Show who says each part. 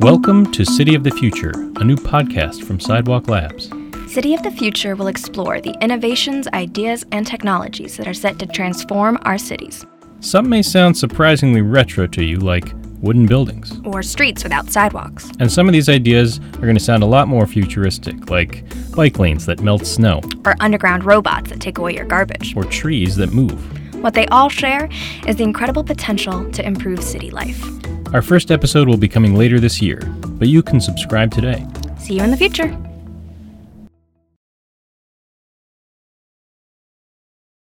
Speaker 1: Welcome to City of the Future, a new podcast from Sidewalk Labs.
Speaker 2: City of the Future will explore the innovations, ideas, and technologies that are set to transform our cities,
Speaker 1: Some may sound surprisingly retro to you, like wooden buildings.
Speaker 2: or streets without sidewalks,
Speaker 1: And some of these ideas are going to sound a lot more futuristic, like bike lanes that melt snow,
Speaker 2: or underground robots that take away your garbage.
Speaker 1: or trees that move.
Speaker 2: What they all share is the incredible potential to improve city life.
Speaker 1: Our first episode will be coming later this year, but you can subscribe today.
Speaker 2: See you in the future!